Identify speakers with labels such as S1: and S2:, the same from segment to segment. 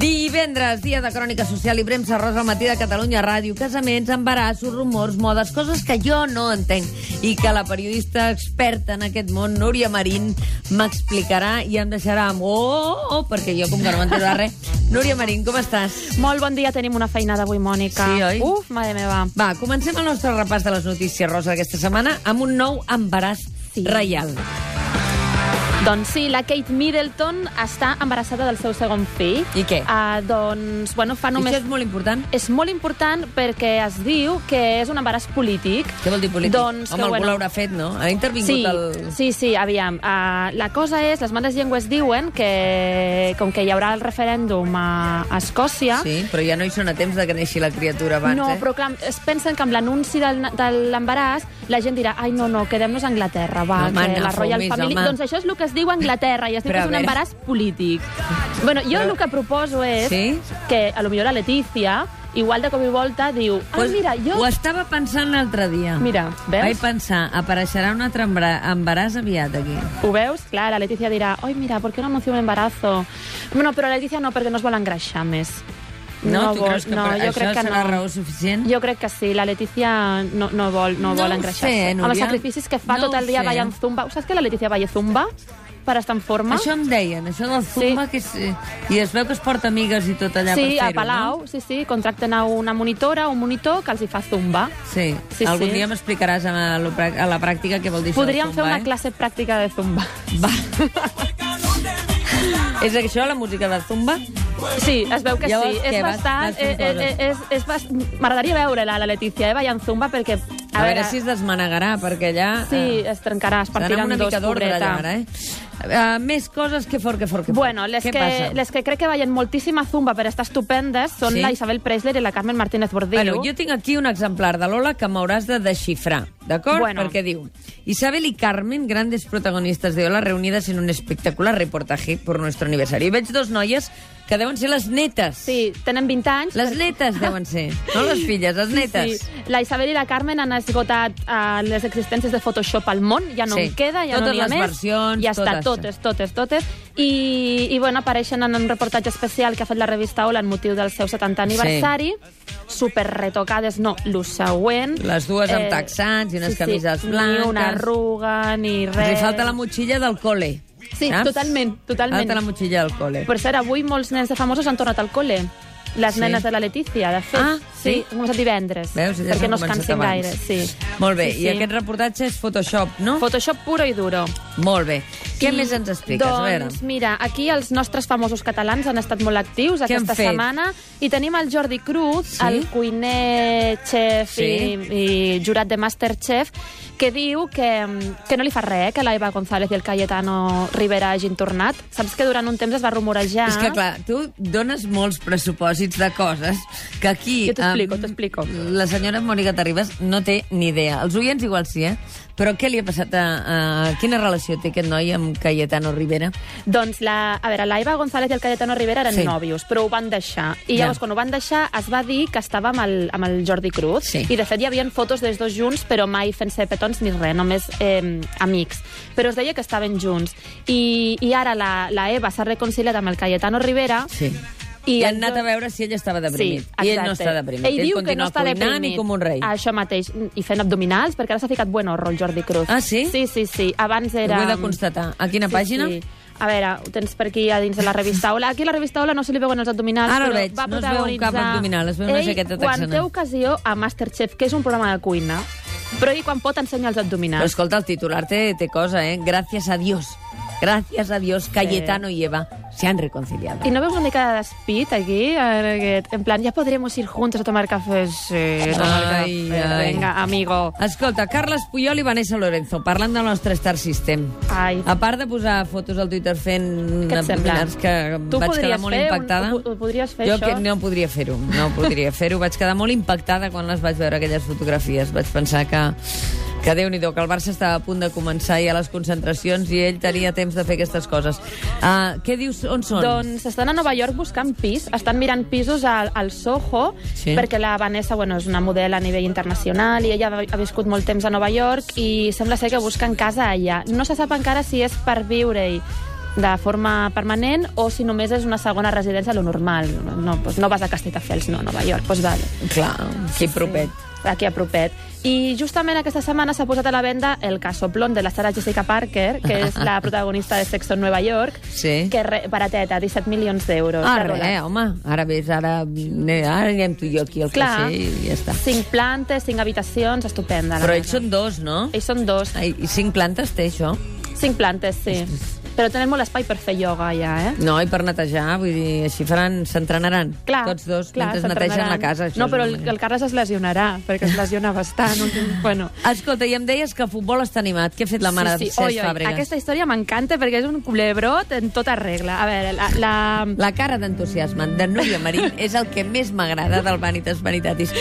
S1: divendres, dia de crònica social i premsa rosa al matí de Catalunya Ràdio. Casaments, embarassos, rumors, modes, coses que jo no entenc i que la periodista experta en aquest món, Núria Marín, m'explicarà i em deixarà amb... Oh, oh, oh, perquè jo com que no m'entero de res. Núria Marín, com estàs?
S2: Molt bon dia, tenim una feinada avui, Mònica.
S1: Sí, oi?
S2: Uf, mare meva.
S1: Va, comencem el nostre repàs de les notícies rosa d'aquesta setmana amb un nou embaràs
S2: Sí.
S1: reial.
S2: Doncs sí, la Kate Middleton està embarassada del seu segon fill.
S1: I què?
S2: Uh, doncs, bueno, fa
S1: I
S2: només...
S1: Això és molt important.
S2: És molt important perquè es diu que és un embaràs polític.
S1: Què vol dir polític?
S2: Doncs
S1: Home,
S2: que,
S1: algú
S2: bueno,
S1: l'haurà fet, no? Ha intervingut
S2: Sí,
S1: el...
S2: sí, sí, aviam. Uh, la cosa és, les males llengües diuen que, com que hi haurà el referèndum a, a Escòcia,
S1: Sí, però ja no hi són a temps de que neixi la criatura abans,
S2: no,
S1: eh?
S2: però clar, es pensen que amb l'anunci del- de l'embaràs la gent dirà, ai, no, no, quedem-nos a Anglaterra, va,
S1: No, home,
S2: que
S1: no,
S2: la Royal
S1: fumis,
S2: Family...
S1: home.
S2: Doncs això és el que es diu a Anglaterra, i es diu
S1: Però a
S2: que és un
S1: veure.
S2: embaràs polític. Bueno, jo
S1: Però-
S2: el que proposo és
S1: Sí?
S2: que, a lo millor, la Letícia, igual de cop i volta, diu, ah,
S1: Pues,
S2: mira, jo...
S1: Ho estava pensant l'altre dia.
S2: Mira, veus?
S1: Vaig pensar, apareixerà un altre embra- embaràs aviat aquí.
S2: Ho veus? Clar, la Letícia dirà, oi, mira, ¿por qué no anuncio un embarazo? Bueno, però la Letícia no, perquè no es vol engreixar més.
S1: No, tu creus que
S2: no,
S1: per
S2: jo
S1: això
S2: crec que
S1: serà
S2: no.
S1: raó suficient?
S2: Jo crec que sí, la Letícia no, no vol, no
S1: No
S2: vol
S1: ho sé,
S2: engreixar-se. Amb els
S1: Núria.
S2: sacrificis que fa
S1: No
S2: tot el
S1: ho
S2: dia
S1: sé.
S2: ballant zumba. Ho Saps que la Letícia balla zumba per estar en forma?
S1: Això em deien, això del zumba, que és... I es veu que es porta amigues i tot allà per
S2: sí,
S1: fer-ho,
S2: a Palau,
S1: no?
S2: sí, sí, contracten a una monitora, un monitor que els hi fa zumba.
S1: Sí,
S2: Sí,
S1: algun
S2: sí.
S1: dia m'explicaràs a, la prà- a la pràctica què vol dir
S2: Podríem
S1: això
S2: fer una
S1: del zumba,
S2: classe pràctica de zumba.
S1: eh? Va. és això, la música del zumba?
S2: Sí, es veu que
S1: Llavors,
S2: sí.
S1: què,
S2: És
S1: vas-
S2: bastant...
S1: vas fent
S2: Eh, eh, eh, és, és bast... M'agradaria veure-la, la Letícia, eh, ballant zumba, perquè...
S1: A, veure, si es desmanegarà, perquè allà...
S2: Sí,
S1: eh,
S2: es trencarà, es
S1: serà
S2: partirà
S1: una
S2: en dos,
S1: mica d'ordre allà,
S2: pobreta.
S1: ara, eh? Uh, més coses que fort, que fort, que fort.
S2: Bueno, les
S1: Què
S2: que,
S1: passa?
S2: les que crec que ballen moltíssima zumba per estar estupendes són
S1: Sí?
S2: la Isabel Preisler i la Carmen Martínez Bordillo.
S1: Bueno, jo tinc aquí un exemplar de Lola que m'hauràs de desxifrar, d'acord?
S2: Bueno.
S1: Perquè diu... Isabel y Carmen, grandes protagonistas de Ola, reunidas en un espectacular reportaje por nuestro aniversario. I veig dos noies que deuen ser les netes.
S2: Sí, tenen 20 anys.
S1: Les netes deuen ser, no les filles, les netes.
S2: Sí. La Isabel i la Carmen han esgotat uh, les existències de Photoshop al món, ja no
S1: Sí.
S2: en queda, ja
S1: Totes
S2: no n'hi ha
S1: les
S2: més.
S1: versions,
S2: ja està,
S1: tot
S2: totes, totes, totes. I, I, bueno, apareixen en un reportatge especial que ha fet la revista Ola en motiu del seu 70 aniversari. Super retocades, no, lo següent. Eh,
S1: Les dues amb texans i unes
S2: sí,
S1: camises
S2: sí,
S1: blanques.
S2: Ni una arruga, ni res.
S1: Els hi falta la motxilla del cole.
S2: Sí, totalment, totalment.
S1: Falta la motxilla del cole.
S2: Per cert, avui molts nens de famosos han tornat al col·le. Les
S1: Sí.
S2: sí. nenes de la Letícia, de fet.
S1: Ah, sí?
S2: sí començat divendres.
S1: Veus? Ja
S2: perquè
S1: s'han
S2: no es
S1: començat
S2: cansin
S1: abans.
S2: gaire. Sí.
S1: Molt bé,
S2: Sí,
S1: i
S2: sí.
S1: aquest reportatge és Photoshop, no?
S2: Photoshop puro i duro.
S1: Molt bé. Què
S2: I,
S1: més ens expliques?
S2: Doncs,
S1: A veure.
S2: mira, aquí els nostres famosos catalans han estat molt actius
S1: Què han
S2: aquesta
S1: fet?
S2: setmana i tenim el Jordi Cruz,
S1: Sí?
S2: el cuiner, xef
S1: Sí.
S2: i, i jurat de Masterchef, que diu que, que no li fa res eh, que la Eva González i el Cayetano Rivera hagin tornat. Saps que durant un temps es va rumorejar...
S1: És que, clar, tu dones molts pressupòsits de coses que aquí...
S2: Jo t'explico,
S1: em,
S2: t'explico.
S1: La senyora Mònica Terribas no té ni idea. Els oients igual sí, eh? Però què li ha passat a... a quina relació té aquest noi amb Cayetano Rivera?
S2: Doncs la, a veure, la Eva González i el Cayetano Rivera eren
S1: Sí.
S2: sí. nòvios, però ho van deixar. I
S1: Ja.
S2: llavors, quan ho van deixar, es va dir que estava amb el, amb el Jordi Cruz.
S1: Sí.
S2: I, de fet, hi havia fotos dels dos junts, però mai fent-se petons ni res, només eh, amics. Però es deia que estaven junts. I, i ara la, la Eva s'ha reconciliat amb el Cayetano Rivera.
S1: Sí. I,
S2: I
S1: han
S2: el
S1: anat
S2: Jo-
S1: a veure si ell estava deprimit.
S2: Sí,
S1: I ell no
S2: exacte.
S1: està deprimit.
S2: Ell, diu que
S1: continua
S2: no està
S1: cuinant
S2: deprimit.
S1: i com un rei.
S2: Això mateix. I fent abdominals, perquè ara s'ha ficat buen horror el Jordi Cruz.
S1: Ah, sí?
S2: Sí, sí, sí. Abans era...
S1: Ho he de constatar. A quina pàgina?
S2: Sí. A veure, ho tens per aquí a dins de la revista Ola. Aquí a la revista Ola no se li veuen els abdominals,
S1: Ara el
S2: però
S1: veig,
S2: va
S1: no es veu cap
S2: protagonitzar-
S1: abdominal, es veu una
S2: Ell,
S1: jaqueta
S2: quan
S1: texana.
S2: té ocasió a Masterchef, que és un programa de cuina, però ell quan pot ensenya els
S1: Però
S2: abdominals.
S1: escolta, el titular té, té cosa, eh? Gràcies a Dios. Gràcies a Dios, Cayetano i Eva se han reconciliado.
S2: I no veus una mica de despit aquí? En, aquest- en plan, ja podremos ir juntos a tomar café. Sí, a tomar
S1: Ai,
S2: café.
S1: ai.
S2: Venga, amigo.
S1: Escolta, Carles Puyol i Vanessa Lorenzo, parlant del nostre Star System.
S2: Ai.
S1: A part de posar fotos al Twitter fent
S2: Què et sembla?
S1: abdominals que
S2: Tu
S1: vaig
S2: podries
S1: quedar molt
S2: fer un-
S1: impactada...
S2: ho- ho podries fer,
S1: jo
S2: això?
S1: Que no podria fer-ho, no podria fer-ho. Vaig quedar molt impactada quan les vaig veure, aquelles fotografies. Vaig pensar que... Que Déu-n'hi-do, que el Barça estava a punt de començar i a les concentracions i ell tenia temps de fer aquestes coses. Uh, què dius? On són?
S2: Doncs estan a Nova York buscant pis, estan mirant pisos al, al Soho,
S1: Sí.
S2: sí. perquè la Vanessa bueno, és una model a nivell internacional i ella ha viscut molt temps a Nova York i sembla ser que busquen casa allà. No se sap encara si és per viure-hi, de forma permanent o si només és una segona residència, lo normal. No, doncs no vas a Castelldefels, no, a Nova York, doncs vale.
S1: Clar, que propet.
S2: Aquí a propet. I justament aquesta setmana s'ha posat a la venda El casoplón de la Sarah Jessica Parker, que és la protagonista de Sexo en Nova York,
S1: Sí.
S2: que re, barateta, 17 milions d'euros.
S1: Ah,
S2: de
S1: res,
S2: dòlars.
S1: home. Ara ves, ara, ne- ara anem tu i jo aquí al
S2: Clar.
S1: caixer i ja està.
S2: Cinc plantes, cinc habitacions, estupenda. la
S1: Però
S2: casa.
S1: ells són dos, no?
S2: Ells són dos.
S1: Ai, I cinc plantes té, això?
S2: Cinc plantes, sí. Però tenen molt espai per fer ioga, ja, eh?
S1: No, i per netejar, vull dir, així faran, s'entrenaran.
S2: Clar,
S1: Tots dos,
S2: clar,
S1: mentre netegen
S2: s'entrenaran.
S1: la casa. Això
S2: No,
S1: és
S2: però
S1: una
S2: el,
S1: manera.
S2: el Carles es lesionarà, perquè es lesiona bastant. últim- bueno.
S1: Escolta, i em deies que a futbol està animat. Què ha fet la mare de Cesc
S2: Oi, oi,
S1: Fàbregas?
S2: Aquesta història m'encanta perquè és un culebrot en tota regla. A veure, la... la...
S1: La cara d'entusiasme de Núria Marín és el que més m'agrada del Vanitas Vanitatis.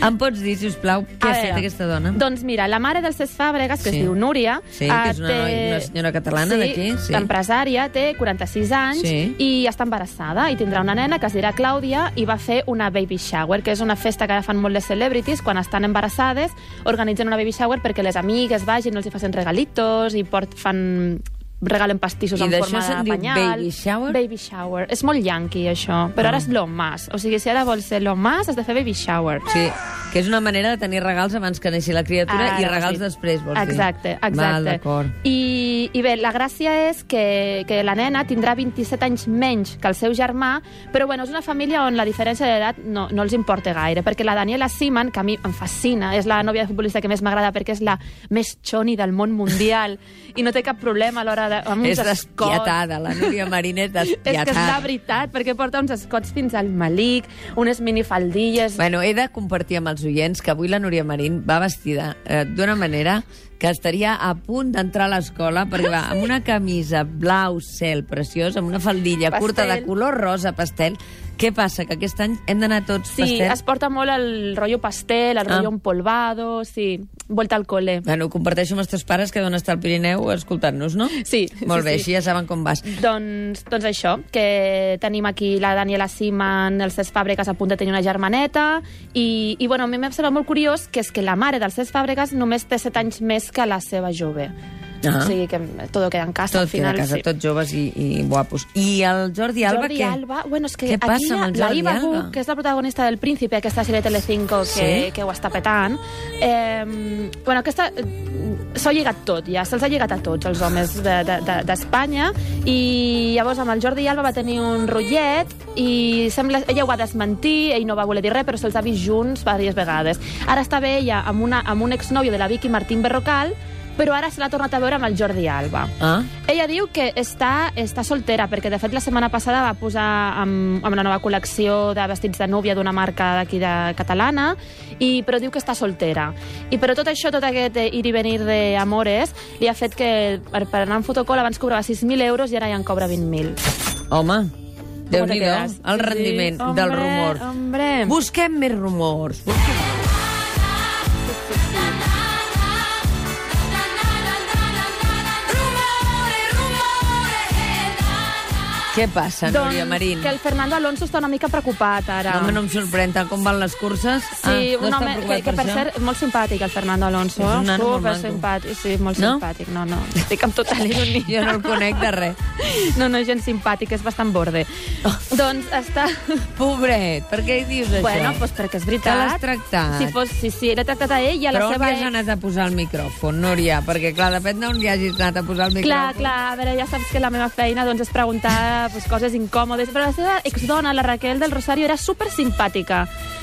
S1: Em pots dir, si us plau, què
S2: a
S1: ha
S2: veure,
S1: fet aquesta dona?
S2: Doncs mira, la mare del Cesc Fàbregas, que
S1: Sí.
S2: es diu Núria...
S1: Sí, que és una
S2: eh,
S1: noi- una senyora catalana
S2: sí,
S1: d'aquí, sí.
S2: empresària, té 46 anys
S1: Sí.
S2: i està embarassada i tindrà una nena que es dirà Clàudia i va fer una baby shower, que és una festa que ara fan molt les celebrities quan estan embarassades, organitzen una baby shower perquè les amigues vagin, els hi facin regalitos i port, fan regalen pastissos
S1: I
S2: en
S1: d'això
S2: forma
S1: se'n
S2: de
S1: diu
S2: penyal.
S1: baby shower? Ah.
S2: Baby shower. És molt yanqui, això. Però ara és lo más. O sigui, si ara vols ser lo más, has de fer baby shower.
S1: Sí, que és una manera de tenir regals abans que neixi la criatura
S2: Ara,
S1: i regals
S2: Ah, sí.
S1: després, vols
S2: exacte,
S1: dir?
S2: Exacte,
S1: Val, d'acord.
S2: I, I bé, la gràcia és que, que la nena tindrà 27 anys menys que el seu germà, però bueno, és una família on la diferència d'edat no, no els importa gaire, perquè la Daniela Siman, que a mi em fascina, és la nòvia futbolista que més m'agrada perquè és la més xoni del món mundial i no té cap problema a l'hora de... Amb uns
S1: És
S2: escots.
S1: despietada, la Núria Marín és
S2: Mm, És
S1: despietada.
S2: que és la veritat, perquè porta uns escots fins al malic, unes minifaldilles...
S1: Bueno, he de compartir amb els oients que avui la Núria Marín va vestida eh, d'una manera que estaria a punt d'entrar a l'escola perquè va amb una camisa blau cel preciós, amb una faldilla
S2: Pastel.
S1: curta de color rosa pastel. Què passa? Que aquest any hem d'anar tots
S2: Sí,
S1: pastel?
S2: es porta molt el rotllo pastel, el
S1: Ah.
S2: rotllo empolvado, sí, volta al col·le.
S1: Bueno, ho comparteixo amb els teus pares que deuen estar al Pirineu escoltant-nos, no?
S2: Sí,
S1: Molt
S2: sí,
S1: bé,
S2: sí.
S1: així ja saben com vas.
S2: Doncs, doncs això, que tenim aquí la Daniela Siman, el Cesc Fàbregas a punt de tenir una germaneta, i, i bueno, a mi m'ha semblat molt curiós que és que la mare del Cesc Fàbregas només té 7 anys més que la seva jove.
S1: Ah.
S2: O sigui que tot queda en casa,
S1: Tot
S2: al final.
S1: queda a casa,
S2: sí.
S1: tots joves i, i guapos. I el Jordi Alba,
S2: Jordi
S1: què?
S2: Alba, bueno, és que
S1: Què
S2: aquí
S1: passa amb el
S2: la
S1: Jordi
S2: Iva
S1: Alba?
S2: Hu, que és la protagonista del Príncipe, aquesta sèrie de Telecinco que,
S1: Sí?
S2: que ho està petant, eh, bueno, aquesta eh, s'ha lligat tot, ja, se'ls ha lligat a tots els homes de- de- de- d'Espanya, de, de, i llavors amb el Jordi Alba va tenir un rotllet, i sembla, ella ho va desmentir, ell no va voler dir res, però se'ls ha vist junts diverses vegades. Ara està bé ella amb, una, amb un exnòvio de la Vicky Martín Berrocal, però ara se l'ha tornat a veure amb el Jordi Alba.
S1: Ah?
S2: Ella diu que està, està soltera, perquè de fet la setmana passada va posar amb, amb la nova col·lecció de vestits de núvia d'una marca d'aquí de catalana, i, però diu que està soltera. I però tot això, tot aquest eh, ir i venir d'amores, li ha fet que per, per anar en fotocol abans cobrava 6.000 euros i ara ja en cobra 20.000.
S1: Home, déu
S2: te
S1: nhi
S2: quedas?
S1: el
S2: Sí,
S1: rendiment
S2: sí.
S1: del
S2: Hombre,
S1: rumor.
S2: hombre.
S1: Busquem més rumors. Busquem... Què passa, Núria Marín?
S2: Doncs que el Fernando Alonso està una mica preocupat ara.
S1: Home, no em sorprèn tant com van les curses.
S2: Sí,
S1: ah, no
S2: un
S1: està
S2: home que,
S1: preocupat
S2: que per
S1: això?
S2: cert, molt simpàtic, el Fernando Alonso.
S1: És un nano molt
S2: Super
S1: maco.
S2: simpàtic, sí, molt
S1: No?
S2: simpàtic. No, no, estic amb tota
S1: Jo
S2: l'ironia.
S1: no el conec de res.
S2: No, no és gens simpàtic, és bastant borde.
S1: Oh.
S2: doncs està...
S1: Pobret, per què hi dius això?
S2: Bueno, doncs perquè és veritat.
S1: Que l'has tractat.
S2: Si fos, sí, sí, l'he tractat a ell i a la
S1: Però on
S2: seva...
S1: hi has anat a posar el micròfon, Núria? Perquè, clar, depèn d'on hi hagis anat a posar el
S2: Clar,
S1: micròfon.
S2: clar, a veure, ja saps que la meva feina doncs, és preguntar doncs, coses incòmodes, però la seva exdona, la Raquel del Rosario, era super simpàtica.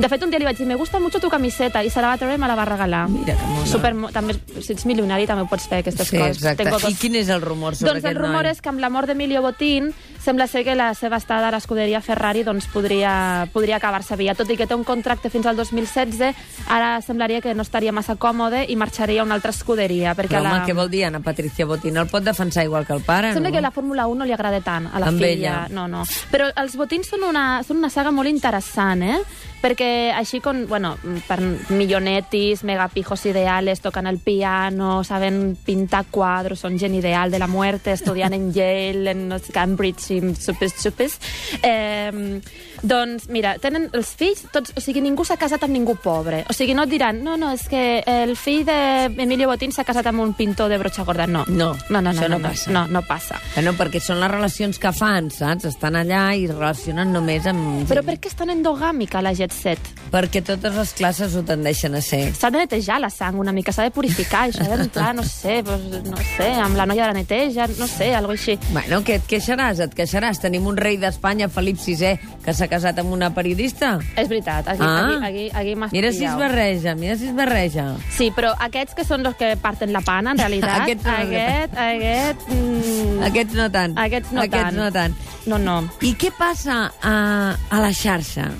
S2: De fet, un dia li vaig dir, me gusta mucho tu camiseta, i se la va treure i me la va regalar.
S1: Mira que mona.
S2: Super, també, si ets milionari també pots fer aquestes
S1: Sí,
S2: coses.
S1: exacte.
S2: Tengo dos-
S1: I quin és el rumor sobre
S2: Doncs el
S1: aquest
S2: rumor
S1: noi?
S2: és que amb la mort d'Emilio Botín sembla ser que la seva estada a l'escuderia Ferrari doncs, podria, podria acabar-se aviat. Tot i que té un contracte fins al 2016, ara semblaria que no estaria massa còmode i marxaria a una altra escuderia. Perquè
S1: Però, home,
S2: la...
S1: què vol dir Ana Patricia Botín? El pot defensar igual que el pare,
S2: Sembla
S1: no? eh?
S2: que la Fórmula 1 no li agrada tant a la
S1: Amb
S2: filla.
S1: ella.
S2: No, no. Però els botins són una, són una saga molt interessant, eh? perquè així con, bueno, per millonetis, megapijos ideales, tocan el piano, saben pintar quadros, són gent ideal de la muerte, estudiant en Yale, en no sé, Cambridge i supes, supes. Eh, doncs, mira, tenen els fills, tots, o sigui, ningú s'ha casat amb ningú pobre. O sigui, no et diran, no, no, és que el fill d'Emilio Botín s'ha casat amb un pintor de broxa gorda. No,
S1: No,
S2: no, no,
S1: això
S2: no,
S1: no passa.
S2: No, no passa.
S1: Que no, perquè són les relacions que fan, saps? Estan allà i es relacionen només amb... gent.
S2: Però per què és tan endogàmica la Jet Set?
S1: Perquè totes les classes ho tendeixen a ser.
S2: S'ha de netejar la sang una mica, s'ha de purificar, això d'entrar, no sé, pues, no sé, amb la noia de la neteja, no sé, algo així.
S1: Bueno, què et queixaràs? Et queixaràs? Tenim un rei d'Espanya, Felip VI, que s'ha casat amb una periodista?
S2: És veritat, aquí,
S1: Ah.
S2: ah. aquí, aquí, aquí m'has
S1: Mira si es
S2: pillat.
S1: barreja, mira si es barreja.
S2: Sí, però aquests que són els que parten la pana, en realitat,
S1: Aquests
S2: aquest,
S1: són els que-
S2: aquest, aquest, mm,
S1: Aquests no tant.
S2: aquests no
S1: Aquests
S2: tant.
S1: no tant.
S2: No, no.
S1: I què passa a, a la xarxa?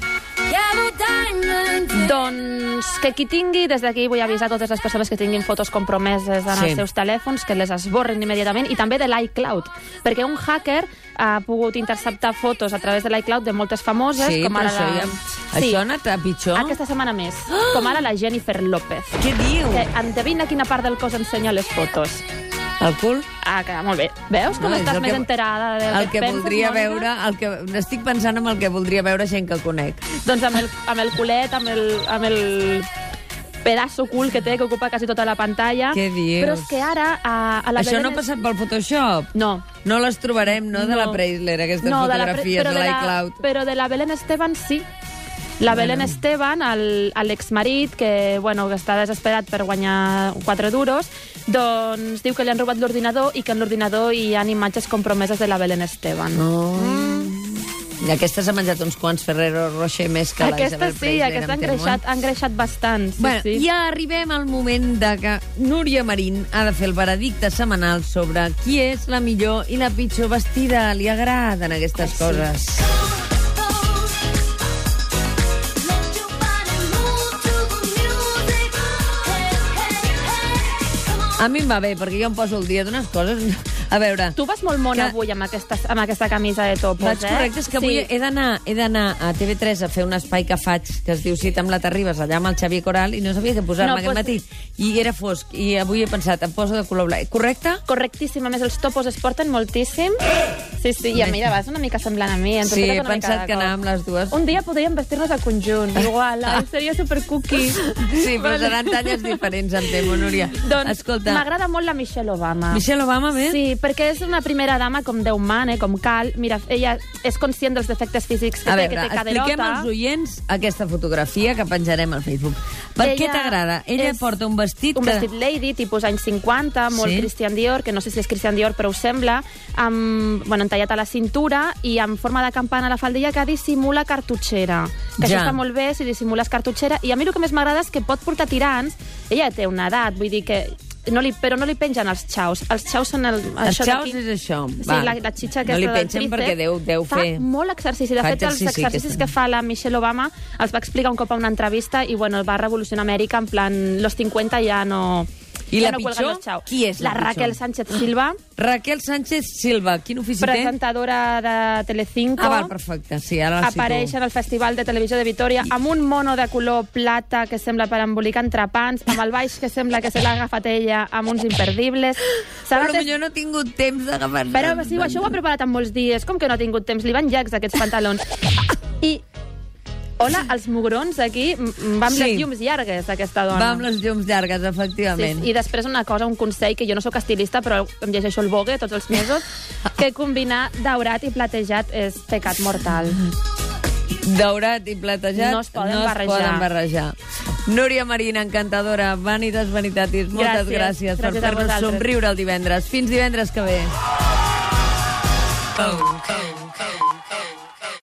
S2: Doncs que qui tingui, des d'aquí vull avisar totes les persones que tinguin fotos compromeses en
S1: Sí.
S2: els seus telèfons, que les esborren immediatament, i també de l'iCloud, perquè un hacker ha pogut interceptar fotos a través de l'iCloud de moltes famoses,
S1: sí,
S2: com
S1: però
S2: ara
S1: això,
S2: la...
S1: ja, això ha anat a pitjor.
S2: Aquesta setmana més, com ara la Jennifer López.
S1: Què diu?
S2: Que endevina quina part del cos ensenya les fotos.
S1: El cul?
S2: Ah, que molt bé. Veus com
S1: No,
S2: no,
S1: és
S2: estàs
S1: el
S2: més
S1: que-
S2: enterada del
S1: El que
S2: penses,
S1: voldria
S2: Mònica?
S1: veure... El que, estic pensant en el que voldria veure gent que conec.
S2: Doncs amb el, amb el culet, amb el, amb el pedazo cul que té, que ocupa quasi tota la pantalla.
S1: Què dius?
S2: Però és que ara... A, a la
S1: Això
S2: Belén
S1: no ha
S2: és-
S1: passat pel Photoshop?
S2: No.
S1: No les trobarem, no, de la
S2: No.
S1: Preisler, aquestes
S2: No, de la Pre-
S1: fotografies
S2: però
S1: de
S2: de la-
S1: l'iCloud.
S2: Però de la Belén Esteban sí. La Belén Esteban, el- a l'exmarit, que, bueno, que està desesperat per guanyar 4 duros, doncs diu que li han robat l'ordinador i que en l'ordinador hi ha imatges compromeses de la Belén Esteban.
S1: No. Mm. I aquesta s'ha menjat uns quants Ferrero Rocher més que la
S2: aquesta
S1: Isabel
S2: sí,
S1: Preisler.
S2: aquesta
S1: em
S2: han
S1: temo, eh?
S2: greixat, han greixat bastant. Sí,
S1: Bueno,
S2: sí.
S1: ja arribem al moment de que Núria Marín ha de fer el veredicte setmanal sobre qui és la millor i la pitjor vestida. Li agraden aquestes
S2: Ai, sí.
S1: coses. A mi em va bé, perquè jo em poso el dia d'unes coses... A veure,
S2: Tu vas molt mona
S1: Que-
S2: que... avui amb aquesta, amb aquesta camisa de topos,
S1: vaig
S2: eh?
S1: correcte, és que avui he d'anar he d'anar a TV3 a fer un espai que faig, que es diu Cita amb la Terribas, allà amb el Xavier Coral, i no sabia què posar-me
S2: No,
S1: aquest matí.
S2: pues-
S1: I era fosc, i avui he pensat, em poso de color blanc. Correcte?
S2: Correctíssim, a més els topos es porten moltíssim. Sí, sí, i a mi vas una mica semblant a mi. Ens
S1: Sí, he
S2: has posat una mica
S1: pensat que
S2: de cop.
S1: anava amb les dues.
S2: Un dia podríem vestir-nos a conjunt, igual, eh? seria supercookie.
S1: Sí, però
S2: Vale.
S1: seran talles diferents, em temo, Núria.
S2: Doncs
S1: Escolta,
S2: m'agrada molt la Michelle Obama.
S1: Michelle Obama, bé?
S2: Sí, perquè és una primera dama com Déu mana, com cal. Mira, ella és conscient dels defectes físics que
S1: A
S2: té,
S1: veure,
S2: que té
S1: expliquem
S2: caderota.
S1: als oients aquesta fotografia que penjarem al Facebook. Per què t'agrada? Ella
S2: és
S1: porta un vestit,
S2: Un
S1: que...
S2: vestit lady, tipus anys 50, molt
S1: Sí.
S2: sí. Christian Dior, que no sé si és Christian Dior, però ho sembla, amb, bueno, entallat a la cintura i amb forma de campana a la faldilla que dissimula cartutxera. Que
S1: Ja.
S2: això està molt bé si dissimules cartutxera. I a mi el que més m'agrada és que pot portar tirants. Ella té una edat, vull dir que... No li, però no li pengen els xaus. Els xaus són el...
S1: Els xaus
S2: d'aquí.
S1: és això.
S2: Sí,
S1: va.
S2: la, la xitxa aquesta
S1: No li
S2: del
S1: pengen
S2: tríceps
S1: perquè deu, deu
S2: fa
S1: fer...
S2: molt exercici. De
S1: Fa
S2: fet, els
S1: exercici,
S2: exercicis
S1: aquesta.
S2: que fa la Michelle Obama els va explicar un cop a una entrevista i, bueno, va revolucionar Amèrica en plan, los 50 ja no...
S1: I
S2: ja
S1: la
S2: no cuelgan
S1: pitjor?
S2: los chao.
S1: Qui és la
S2: La
S1: pitjor?
S2: Raquel Sánchez Silva,
S1: Raquel Sánchez Silva, quin ofici té?
S2: presentadora de Telecinco.
S1: Ah, val, perfecte, Ah, sí, ara la
S2: Apareix en
S1: situo.
S2: el Festival de Televisió de Vitoria amb un mono de color plata que sembla per embolicar entrepans, amb el baix que sembla que se l'ha agafat ella amb uns imperdibles.
S1: Però
S2: Sabates
S1: potser no he tingut temps d'agafar...
S2: Però sí, això
S1: Doncs-
S2: ho ha preparat en molts dies. Com que no ha tingut temps? Li van llargs, aquests pantalons. I... Hola, els mugrons aquí. m- m- Va amb
S1: Sí.
S2: sí. les llums llargues, aquesta dona.
S1: Va amb les llums llargues, efectivament.
S2: Sí, I després una cosa, un consell, que jo no sóc estilista, però em llegeixo el Vogue tots els mesos, que combinar daurat i platejat és pecat mortal.
S1: Daurat i platejat
S2: No es poden
S1: no
S2: barrejar.
S1: Es poden barrejar. Núria Marina, encantadora, vanitas vanitatis, moltes
S2: Gràcies.
S1: gràcies, per
S2: Gràcies a
S1: fer-nos
S2: vosaltres.
S1: somriure el divendres. Fins divendres que ve.
S3: Oh, oh, oh.